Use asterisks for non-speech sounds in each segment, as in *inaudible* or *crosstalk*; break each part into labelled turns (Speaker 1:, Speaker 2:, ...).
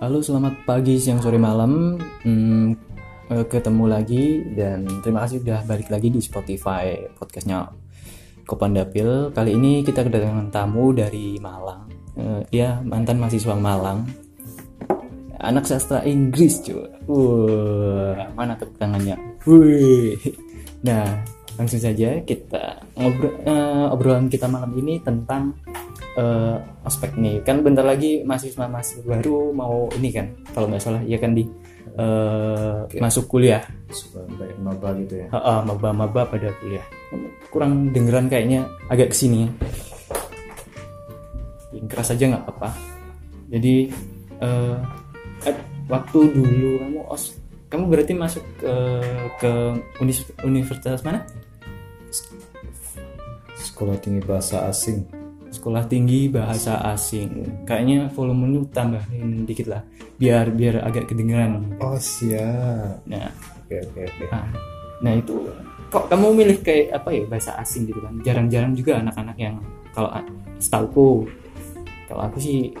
Speaker 1: Halo, selamat pagi, siang, sore, malam. Hmm, eh, ketemu lagi dan terima kasih udah balik lagi di Spotify podcastnya Kopandapil. Kali ini kita kedatangan tamu dari Malang. Eh, dia mantan mahasiswa Malang. Anak sastra Inggris, cuy. Wah, mana tepuk tangannya? Wih. Nah, langsung saja kita ngobrol eh, obrolan kita malam ini tentang eh, ospek nih kan bentar lagi mahasiswa mahasiswa baru mau ini kan kalau nggak salah ya kan di eh, masuk kuliah
Speaker 2: suka kayak maba gitu ya
Speaker 1: Ha-ha, maba-maba pada kuliah kurang dengeran kayaknya agak kesini ya Yang keras aja nggak apa-apa jadi eh, eh, waktu dulu kamu os kamu berarti masuk ke ke unis- universitas mana
Speaker 2: sekolah tinggi bahasa asing
Speaker 1: sekolah tinggi bahasa asing kayaknya volumenya tambahin dikit lah biar biar agak kedengeran
Speaker 2: oh siap
Speaker 1: nah
Speaker 2: oke oke oke
Speaker 1: nah, nah itu kok kamu milih kayak apa ya bahasa asing gitu kan jarang-jarang juga anak-anak yang kalau a- setauku kalau aku sih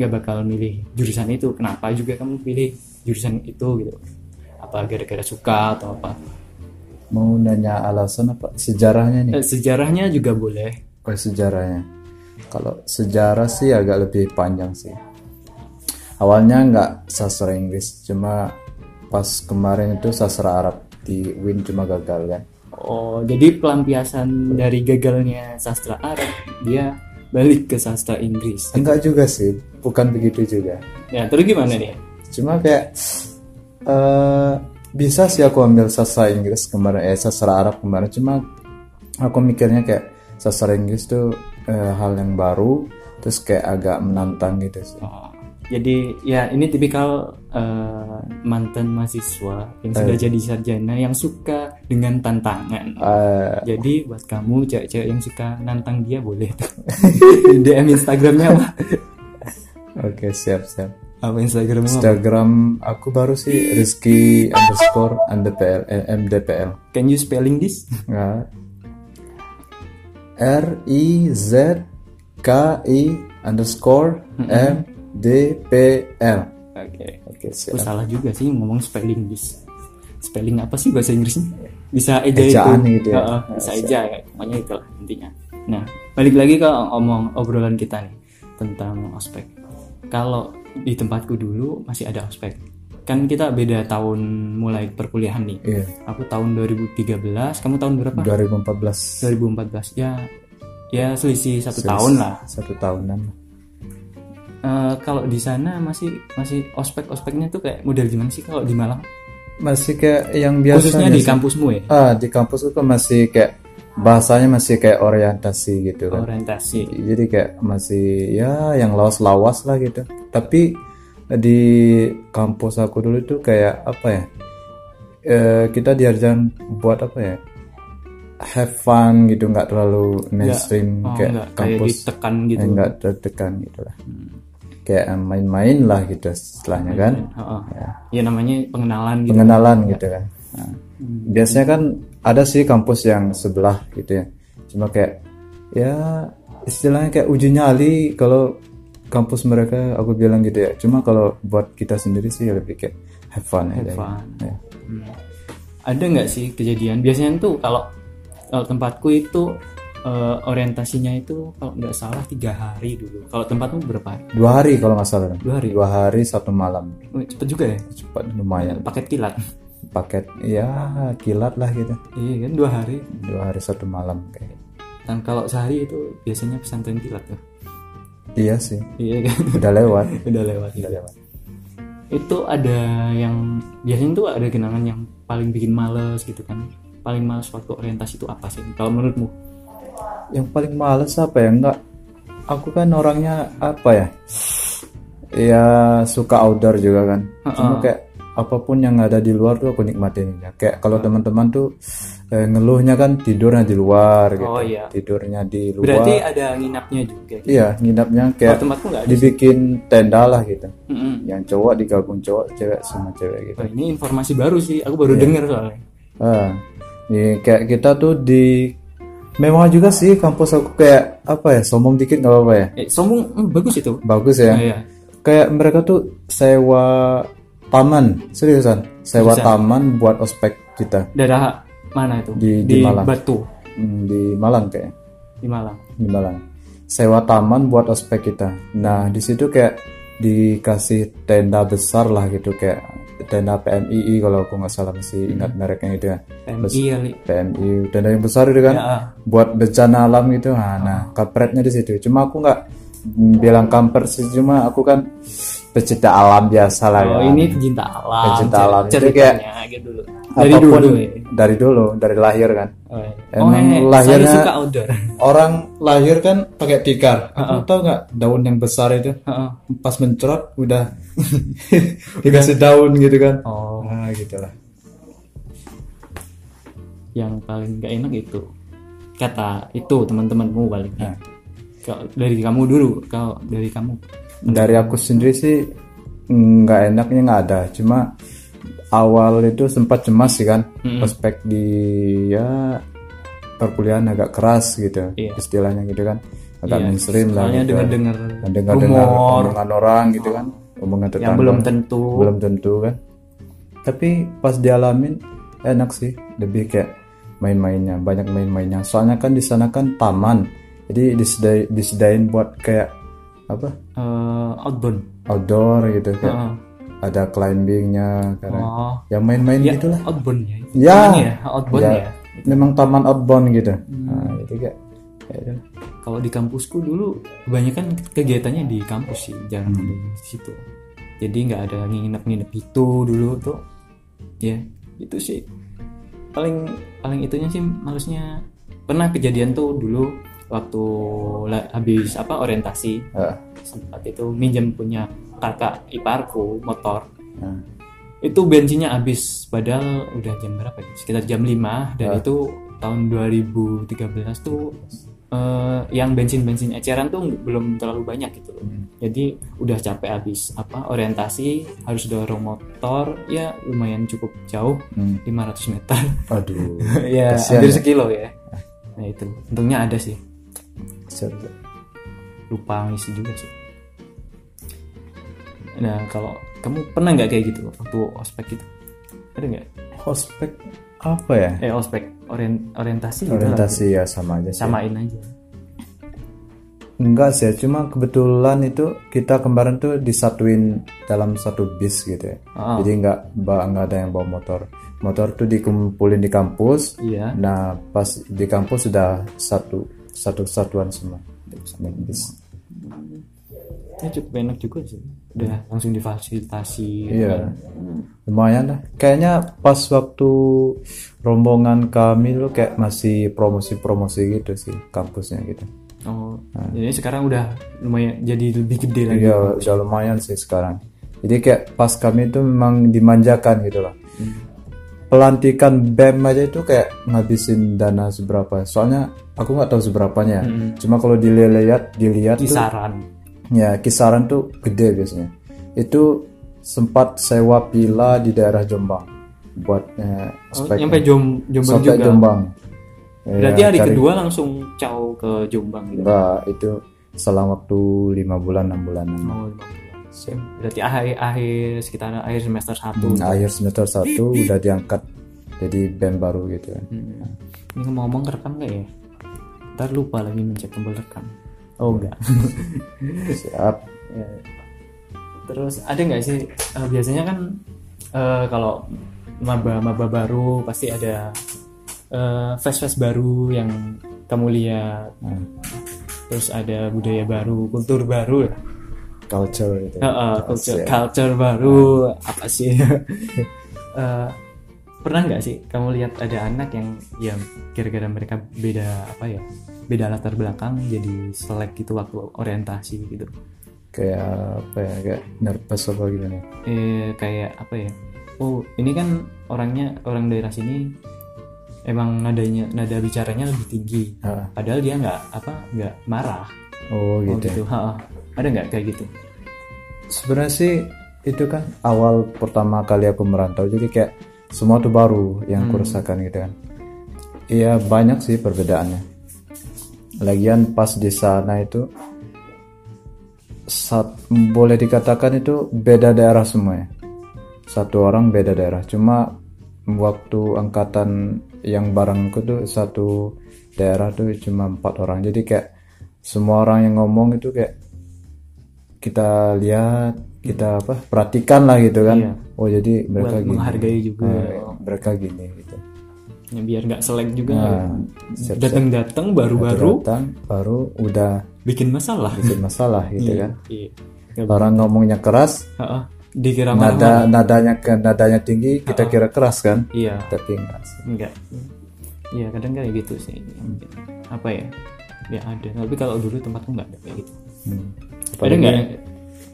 Speaker 1: nggak bakal milih jurusan itu kenapa juga kamu pilih jurusan itu gitu apa gara-gara suka atau apa
Speaker 2: mau nanya alasan apa sejarahnya nih
Speaker 1: Eh, sejarahnya juga boleh
Speaker 2: apa sejarahnya kalau sejarah sih agak lebih panjang sih awalnya nggak sastra Inggris cuma pas kemarin itu sastra Arab di Win cuma gagal kan
Speaker 1: Oh, jadi pelampiasan dari gagalnya sastra Arab, dia balik ke sastra Inggris.
Speaker 2: enggak juga sih bukan begitu juga
Speaker 1: Ya, terus gimana nih?
Speaker 2: cuma kayak eh bisa sih aku ambil sastra Inggris kemarin eh sastra Arab kemarin cuma aku mikirnya kayak sastra Inggris tuh eh, hal yang baru terus kayak agak menantang gitu sih
Speaker 1: Oh, jadi ya ini tipikal eh, mantan mahasiswa yang sudah jadi sarjana yang suka dengan tantangan.
Speaker 2: Eh,
Speaker 1: Jadi buat kamu cewek-cewek yang suka nantang dia boleh *laughs* tuh. Di DM Instagramnya apa?
Speaker 2: oke siap siap
Speaker 1: Apa Instagramnya apa?
Speaker 2: Instagram aku baru sih Rizky underscore MDPL eh, MDPL
Speaker 1: Can you spelling this? *laughs*
Speaker 2: Nggak. Nah. R I Z K I underscore M D P L
Speaker 1: Oke.
Speaker 2: oke
Speaker 1: Aku
Speaker 2: siap
Speaker 1: salah juga sih ngomong spelling this. Spelling apa sih bahasa Inggrisnya? Bisa eja
Speaker 2: Ejaan
Speaker 1: itu.
Speaker 2: gitu ya.
Speaker 1: Heeh, bisa eja ya. Pokoknya itu lah intinya. Nah, balik lagi ke omong obrolan kita nih tentang ospek. Kalau di tempatku dulu masih ada ospek. Kan kita beda tahun mulai perkuliahan nih.
Speaker 2: Iya,
Speaker 1: Aku tahun 2013, kamu tahun berapa?
Speaker 2: 2014
Speaker 1: 2014. Ya ya selisih satu tahun lah.
Speaker 2: satu tahunan.
Speaker 1: Eh, kalau di sana masih masih ospek-ospeknya tuh kayak model gimana sih kalau di Malang?
Speaker 2: Masih kayak yang biasa
Speaker 1: Khususnya di kampusmu ya?
Speaker 2: ah, di kampus itu masih kayak bahasanya masih kayak orientasi gitu
Speaker 1: Oh,
Speaker 2: kan.
Speaker 1: orientasi
Speaker 2: Jadi kayak masih ya yang lawas-lawas lah gitu. Tapi di kampus aku dulu tuh kayak apa ya? Eh, kita diajarkan buat apa ya? Have fun gitu, nggak terlalu mainstream
Speaker 1: oh,
Speaker 2: kayak
Speaker 1: enggak, kayak
Speaker 2: kampus
Speaker 1: ditekan gitu
Speaker 2: Eh,
Speaker 1: Hmm.
Speaker 2: enggak tertekan gitu lah. Kayak eh, main-main lah gitu setelahnya kan.
Speaker 1: Heeh. ya namanya pengenalan gitu
Speaker 2: pengenalan gitu kan. Nah,
Speaker 1: Hmm.
Speaker 2: Biasanya kan ada sih kampus yang sebelah gitu ya. Cuma kayak ya istilahnya kayak uji nyali kalau kampus mereka aku bilang gitu ya. Cuma kalau buat kita sendiri sih lebih kayak have fun aja.
Speaker 1: fun.
Speaker 2: Ya.
Speaker 1: Hmm. ada nggak sih kejadian biasanya tuh kalau kalau tempatku itu eh, orientasinya itu kalau nggak salah tiga hari dulu kalau tempatmu berapa hari?
Speaker 2: Dua hari kalau nggak salah.
Speaker 1: dua hari
Speaker 2: Dua hari satu malam.
Speaker 1: Oh, cepet juga ya
Speaker 2: Cepat lumayan.
Speaker 1: paket kilat *laughs*
Speaker 2: Paket ya kilat lah gitu.
Speaker 1: iya kan dua hari
Speaker 2: Dua hari satu malam kayak.
Speaker 1: dan kalau sehari itu biasanya pesantren kilat tuh
Speaker 2: Iya sih.
Speaker 1: iya kan *laughs*
Speaker 2: Udah lewat.
Speaker 1: udah lewat
Speaker 2: Udah lewat.
Speaker 1: itu ada yang biasanya tuh ada kenangan yang paling bikin males gitu kan paling males waktu orientasi itu apa sih kalau menurutmu
Speaker 2: yang paling males apa ya enggak aku kan orangnya apa ya ya suka outdoor juga kan cuma kayak apapun yang ada di luar tuh aku nikmatin ya. kayak kalau teman-teman tuh eh, ngeluhnya kan tidurnya di luar gitu
Speaker 1: Oh, iya.
Speaker 2: tidurnya di luar
Speaker 1: berarti ada nginapnya juga gitu.
Speaker 2: iya nginapnya
Speaker 1: kalau
Speaker 2: kayak
Speaker 1: tempatku nggak ada
Speaker 2: dibikin tenda lah gitu
Speaker 1: Mm-mm.
Speaker 2: yang cowok digabung cowok cewek sama cewek gitu
Speaker 1: Wah, ini informasi baru sih aku
Speaker 2: Ya.
Speaker 1: baru dengar soalnya
Speaker 2: Ah, ini kayak kita tuh di memang juga sih kampus aku kayak apa ya sombong dikit nggak apa-apa ya
Speaker 1: eh, sombong hmm, bagus itu
Speaker 2: bagus ya
Speaker 1: Nah, iya.
Speaker 2: kayak mereka tuh sewa taman seriusan sewa
Speaker 1: Seriusan?
Speaker 2: taman buat ospek kita
Speaker 1: Daerah mana itu?
Speaker 2: Di- di Malang.
Speaker 1: Batu,
Speaker 2: Hmm, di Malang kayak
Speaker 1: di Malang.
Speaker 2: di Malang sewa taman buat ospek kita nah di situ kayak dikasih tenda besar lah gitu kayak tenda PMII kalau aku nggak salah
Speaker 1: Hmm.
Speaker 2: masih ingat mereknya gitu ya
Speaker 1: PMI kali.
Speaker 2: PMI tenda yang besar itu kan
Speaker 1: Ya, ah.
Speaker 2: buat bencana alam gitu nah, nah kampretnya di situ cuma aku nggak mm, bilang kampret sih cuma aku kan pecinta alam biasa lah
Speaker 1: Oh,
Speaker 2: ya
Speaker 1: ini pecinta alam.
Speaker 2: Pecinta
Speaker 1: cer-
Speaker 2: alam. Jadi
Speaker 1: Ceritanya gitu dulu. Dari
Speaker 2: Apapun-
Speaker 1: dulu ya.
Speaker 2: dari dulu dari lahir kan
Speaker 1: Oh, ya.
Speaker 2: Emang
Speaker 1: eh,
Speaker 2: lahirnya-
Speaker 1: saya suka outdoor. *laughs*
Speaker 2: orang lahir kan pakai tikar
Speaker 1: Ah,
Speaker 2: aku tahu nggak daun yang besar itu
Speaker 1: Heeh.
Speaker 2: pas mencerot
Speaker 1: *laughs*
Speaker 2: udah dikasih daun gitu kan
Speaker 1: oh,
Speaker 2: nah gitulah
Speaker 1: yang paling gak enak itu kata itu teman-temanmu paling.
Speaker 2: Nah.
Speaker 1: Kalau dari kamu dulu, kalau dari kamu.
Speaker 2: dari aku sendiri sih nggak enaknya nggak ada cuma awal itu sempat cemas sih kan
Speaker 1: Hmm.
Speaker 2: prospek di ya perkuliahan agak keras gitu
Speaker 1: Iya.
Speaker 2: istilahnya gitu kan agak
Speaker 1: Iya,
Speaker 2: mainstream lah
Speaker 1: soalnya
Speaker 2: gitu.
Speaker 1: dengar-dengar
Speaker 2: Dan dengar-dengar
Speaker 1: rumor Oh.
Speaker 2: omongan orang gitu kan omongan tetangga
Speaker 1: yang belum tentu.
Speaker 2: belum tentu kan tapi pas dialamin enak sih lebih kayak main-mainnya banyak main-mainnya soalnya kan di sana kan taman jadi disedai, disediain buat kayak apa
Speaker 1: Eh, outbound.
Speaker 2: outdoor gitu kayak
Speaker 1: Heeh.
Speaker 2: ada climbingnya karena
Speaker 1: Oh.
Speaker 2: yang main-main
Speaker 1: Ya,
Speaker 2: gitulah
Speaker 1: outbound ya.
Speaker 2: ya,
Speaker 1: Ini ya, outbound
Speaker 2: Ya,
Speaker 1: ya. Hmm.
Speaker 2: memang taman outbound gitu nah, jadi kayak ya itulah.
Speaker 1: Kalau di kampusku dulu kebanyakan kegiatannya di kampus sih, jarang ada di situ. Jadi nggak ada nginep-nginep itu dulu tuh. Ya, itu sih paling paling itunya sih malesnya pernah kejadian tuh dulu waktu la- habis apa orientasi
Speaker 2: Ah,
Speaker 1: sempat itu minjem punya kakak iparku motor
Speaker 2: ah.
Speaker 1: itu bensinnya habis padahal udah jam berapa ya? sekitar jam 5 dan itu tahun 2013 tuh eh, yang bensin-bensin eceran tuh belum terlalu banyak gitu loh jadi udah capek habis apa orientasi harus dorong motor ya lumayan cukup jauh
Speaker 2: Hmm.
Speaker 1: 500 meter
Speaker 2: aduh
Speaker 1: *laughs* ya
Speaker 2: Kasihan
Speaker 1: hampir
Speaker 2: ya.
Speaker 1: sekilo ya nah itu untungnya ada sih
Speaker 2: Serius.
Speaker 1: lupa ngisi juga sih nah kalau kamu pernah nggak kayak gitu waktu ospek gitu ada nggak
Speaker 2: ospek apa ya
Speaker 1: eh ospek orien- orientasi gitu lah.
Speaker 2: orientasi ya sama aja sih
Speaker 1: samain aja
Speaker 2: Enggak sih, cuma kebetulan itu kita kemarin tuh disatuin dalam satu bis gitu ya.
Speaker 1: Ah.
Speaker 2: Jadi enggak ba- enggak ada yang bawa motor. Motor tuh dikumpulin di kampus.
Speaker 1: iya
Speaker 2: Nah, pas di kampus sudah satu satu satuan semua. Sama bis.
Speaker 1: ini cukup enak juga sih udah langsung difasilitasi
Speaker 2: Iya. Lumayan lah. Kayaknya pas waktu rombongan kami tuh kayak masih promosi-promosi gitu sih kampusnya gitu.
Speaker 1: oh jadi sekarang udah lumayan jadi lebih gede lagi
Speaker 2: Nah. Iya, udah lumayan sih sekarang. Jadi kayak pas kami itu memang dimanjakan gitu loh. Pelantikan BEM aja itu kayak ngabisin dana seberapa. Soalnya aku nggak tahu seberapanya. ya. Cuma kalau dilihat dilihat tuh,
Speaker 1: kisaran
Speaker 2: ya kisaran tuh gede biasanya. Itu sempat sewa pila di daerah Jombang buat eh,
Speaker 1: oh,
Speaker 2: spek-
Speaker 1: nyampe jom jombang
Speaker 2: sampai
Speaker 1: juga
Speaker 2: Jombang.
Speaker 1: berarti
Speaker 2: Ya,
Speaker 1: hari
Speaker 2: cari-
Speaker 1: kedua langsung caw ke jombang gitu
Speaker 2: Enggak, itu selama waktu lima bulan enam bulanan.
Speaker 1: oh, lima bulan. berarti akhir akhir sekitar akhir semester satu
Speaker 2: Hmm, akhir semester 1 udah diangkat jadi band baru gitu kan.
Speaker 1: Hmm. Ini ngomong-ngomong rekam nggak ya? Ntar lupa lagi mencet tombol rekam. Oh enggak. *laughs*
Speaker 2: Siap.
Speaker 1: Terus ada nggak sih? eh, biasanya kan eh, kalau maba-maba baru pasti ada eh, flash-flash baru yang kamu lihat.
Speaker 2: Hmm.
Speaker 1: Terus ada budaya baru, kultur baru, lah.
Speaker 2: Culture gitu.
Speaker 1: Eh, eh, culture, culture baru apa sih? *laughs* Eh, pernah nggak sih kamu lihat ada anak yang yang gara-gara mereka beda apa ya beda latar belakang jadi selek gitu waktu orientasi gitu
Speaker 2: Kayak apa ya? Kayak nervous apa gimana?
Speaker 1: eh kayak apa ya oh ini kan orangnya orang daerah sini emang nadanya nada bicaranya lebih tinggi
Speaker 2: Ah,
Speaker 1: padahal dia nggak apa nggak marah Oh,
Speaker 2: oh gitu.
Speaker 1: gitu Ha, ha. ada nggak kayak gitu
Speaker 2: Sebenarnya sih itu kan awal pertama kali aku merantau jadi kayak semua tuh baru yang kurusakan gitu kan. Iya banyak sih perbedaannya. Lagian pas di sana itu sat, boleh dikatakan itu beda daerah semua ya. Satu orang beda daerah. Cuma waktu angkatan yang barengku tuh satu daerah tuh cuma empat orang. Jadi kayak semua orang yang ngomong itu kayak kita lihat, kita apa perhatikan lah gitu kan.
Speaker 1: Iya.
Speaker 2: Oh jadi mereka
Speaker 1: Buat
Speaker 2: gini.
Speaker 1: menghargai juga.
Speaker 2: Ah, mereka gini gitu.
Speaker 1: Ya, biar nggak selek juga.
Speaker 2: Nah, siap-siap.
Speaker 1: Datang-datang baru-baru
Speaker 2: datang baru udah
Speaker 1: bikin masalah.
Speaker 2: bikin masalah gitu kan.
Speaker 1: Iya.
Speaker 2: Orang ngomongnya keras,
Speaker 1: Heeh. Dikira marah.
Speaker 2: nada nadanya ke- nadanya tinggi
Speaker 1: Ah.
Speaker 2: kita kira keras kan
Speaker 1: Iya.
Speaker 2: tapi enggak sih.
Speaker 1: Enggak. Iya, kadang kayak gitu sih. Mungkin. Apa ya? Ya ada, tapi kalau dulu tempatku nggak ada kayak gitu.
Speaker 2: Hmm.
Speaker 1: Ada nggak?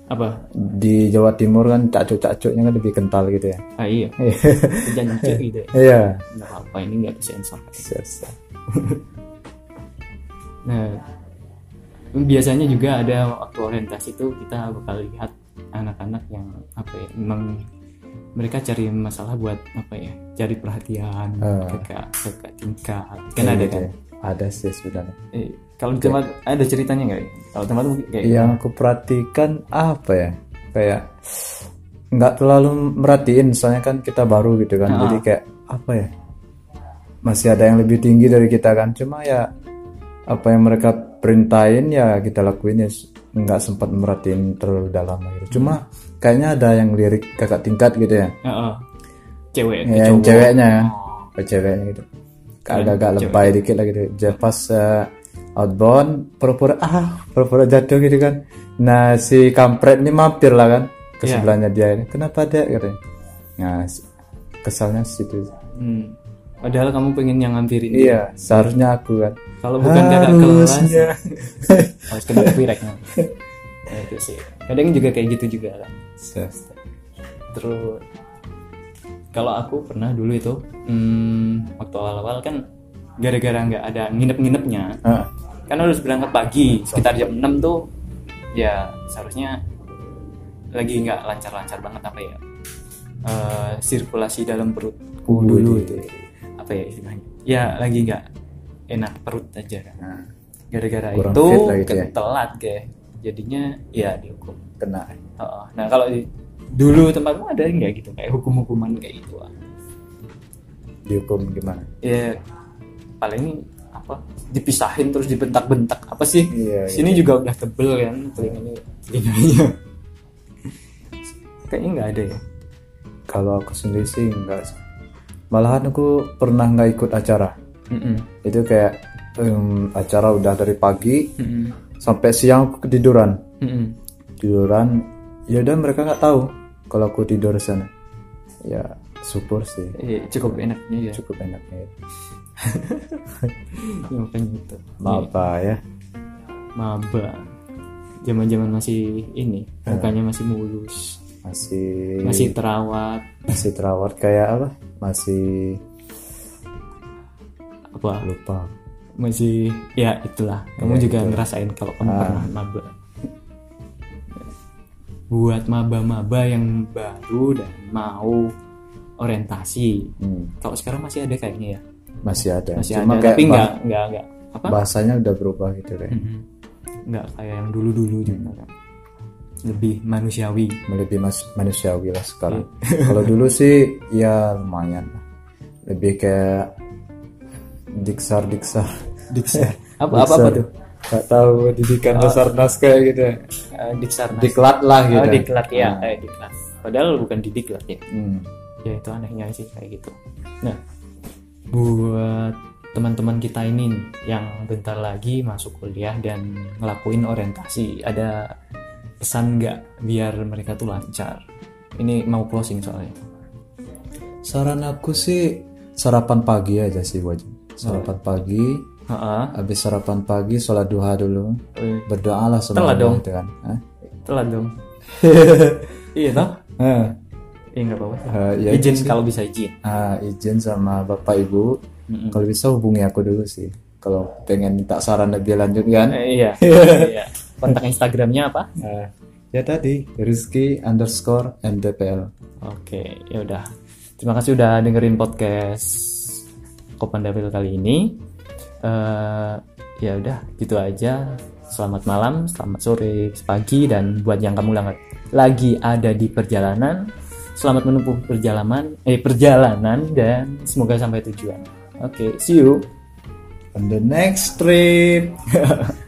Speaker 1: Apa?
Speaker 2: di Jawa Timur kan cacuk-cacuknya kan lebih kental gitu ya
Speaker 1: Ah
Speaker 2: *laughs*
Speaker 1: iya. Jangan gitu. ya.
Speaker 2: iya
Speaker 1: Nggak apa ini nggak kesensor.
Speaker 2: Siap-siap.
Speaker 1: Nah, biasanya juga ada waktu orientasi itu kita bakal lihat anak-anak yang apa ya, memang mereka cari masalah buat apa ya, cari perhatian,
Speaker 2: Ah.
Speaker 1: kakak kakak tingkat, kan ada
Speaker 2: Gitu
Speaker 1: kan.
Speaker 2: ya. ada sih sebenarnya
Speaker 1: Eh, kalau di tempat ada ceritanya nggak? ya? Kalau tempat mungkin kayak
Speaker 2: yang aku perhatikan apa ya kayak nggak terlalu merhatiin soalnya kan kita baru gitu kan jadi kayak apa ya masih ada yang lebih tinggi dari kita kan cuma ya apa yang mereka perintahin ya kita lakuin ya nggak sempat merhatiin terlalu dalam gitu cuma kayaknya ada yang lirik kakak tingkat gitu ya
Speaker 1: Ah, ah. cewek ke cowok.
Speaker 2: yang
Speaker 1: Oh.
Speaker 2: ceweknya ya Yang ceweknya gitu agak-agak lebay dikit lah gitu Ja- pas eh, outbound pura-pura ah pura-pura jatuh gitu kan nah si kampret ini mampir lah kan
Speaker 1: Iya.
Speaker 2: ke sebelahnya dia ini kenapa dek katanya nah si- kesalnya situ
Speaker 1: Hmm. Padahal kamu pengen yang ngampirin.
Speaker 2: iya seharusnya aku kan
Speaker 1: Kalau bukan kakak kelas, *laughs*
Speaker 2: harusnya
Speaker 1: harus kena copyright.
Speaker 2: *laughs*
Speaker 1: Nah, itu sih. Kadang juga kayak gitu juga kan.
Speaker 2: Yes.
Speaker 1: Terus kalau aku pernah dulu itu hmm, waktu awal-awal kan gara-gara nggak ada nginep-nginepnya
Speaker 2: Ah,
Speaker 1: kan harus berangkat pagi sekitar jam 6 tuh ya seharusnya lagi nggak lancar-lancar banget apa ya eh, sirkulasi dalam perutku dulu itu apa ya istilahnya ya lagi nggak enak perut aja kan
Speaker 2: nah,
Speaker 1: gara-gara
Speaker 2: Kurang
Speaker 1: itu
Speaker 2: fit lah gitu ya.
Speaker 1: ketelat kayak jadinya ya dihukum
Speaker 2: kena
Speaker 1: Heeh. Nah kalau di- dulu tempatmu ada nggak gitu kayak hukum-hukuman kayak gitu? ah?
Speaker 2: dihukum gimana
Speaker 1: Ya paling apa dipisahin terus dibentak-bentak apa sih?
Speaker 2: Iya,
Speaker 1: Sini juga udah tebel kan telinganya telinganya. Kayaknya nggak ada ya.
Speaker 2: kalau aku sendiri sih enggak sih. malahan aku pernah nggak ikut acara
Speaker 1: Mm-mm.
Speaker 2: itu kayak em, acara udah dari pagi
Speaker 1: Mm-mm.
Speaker 2: sampai siang aku ketiduran
Speaker 1: Mm-mm.
Speaker 2: tiduran ya udah mereka nggak tahu kalau aku tidur di sana ya syukur sih
Speaker 1: Iya, cukup enaknya ya.
Speaker 2: cukup enaknya
Speaker 1: Ya, Makanya gitu.
Speaker 2: maaf Pak, ya
Speaker 1: Maba. Zaman-zaman masih ini, mukanya masih mulus,
Speaker 2: masih
Speaker 1: masih terawat,
Speaker 2: masih terawat kayak apa masih
Speaker 1: apa
Speaker 2: lupa
Speaker 1: masih ya itulah kamu juga ngerasain kalau kamu
Speaker 2: Ah.
Speaker 1: pernah maba buat maba-maba yang baru dan mau orientasi
Speaker 2: Hmm,
Speaker 1: kalau sekarang masih ada kayaknya ya
Speaker 2: masih ada
Speaker 1: masih
Speaker 2: cuma
Speaker 1: ada
Speaker 2: kayak
Speaker 1: tapi
Speaker 2: bah-
Speaker 1: nggak nggak nggak apa
Speaker 2: bahasanya udah berubah gitu deh
Speaker 1: Mhm. nggak kayak yang dulu-dulu
Speaker 2: Hmm.
Speaker 1: juga kan. lebih manusiawi
Speaker 2: lebih mas- manusiawi lah sekarang. Kalau dulu sih ya lumayan lah. Lebih kayak diksar diksar. Diksar. *laughs*
Speaker 1: Apa- apa- apa tuh?
Speaker 2: Gak tahu didikan dasar naskah gitu. ya.
Speaker 1: Eh, diksarnas
Speaker 2: Diklat lah gitu.
Speaker 1: oh, diklat ya kayak diklat padahal bukan didiklat ya
Speaker 2: Hmm.
Speaker 1: ya itu anehnya sih kayak gitu nah buat teman-teman kita ini nih, yang bentar lagi masuk kuliah dan ngelakuin orientasi ada pesan nggak biar mereka tuh lancar ini mau closing soalnya
Speaker 2: Saran aku sih sarapan pagi aja sih wajib. Sarapan pagi,
Speaker 1: Heeh.
Speaker 2: habis sarapan pagi sholat duha dulu.
Speaker 1: Eh,
Speaker 2: Berdoalah sebelum
Speaker 1: Telat dong.
Speaker 2: gitu kan. Hah?
Speaker 1: telat *laughs* dong iya toh
Speaker 2: Eh,
Speaker 1: iya nggak apa-apa
Speaker 2: eh, ya
Speaker 1: izin kalau bisa izin
Speaker 2: Ah, izin sama bapak ibu kalau bisa hubungi aku dulu sih kalau pengen minta saran lebih lanjut kan
Speaker 1: Eh, iya iya kontak instagramnya apa
Speaker 2: Ah, ya tadi Rizky underscore MDPL
Speaker 1: Oke, ya udah. Terima kasih udah dengerin podcast Kopan Dapil kali ini. eh ya udah, gitu aja. Selamat malam, selamat sore, pagi dan buat yang kamu lang- lagi ada di perjalanan, selamat menempuh perjalanan eh perjalanan dan semoga sampai tujuan. Oke, see you.
Speaker 2: On the next trip. *laughs*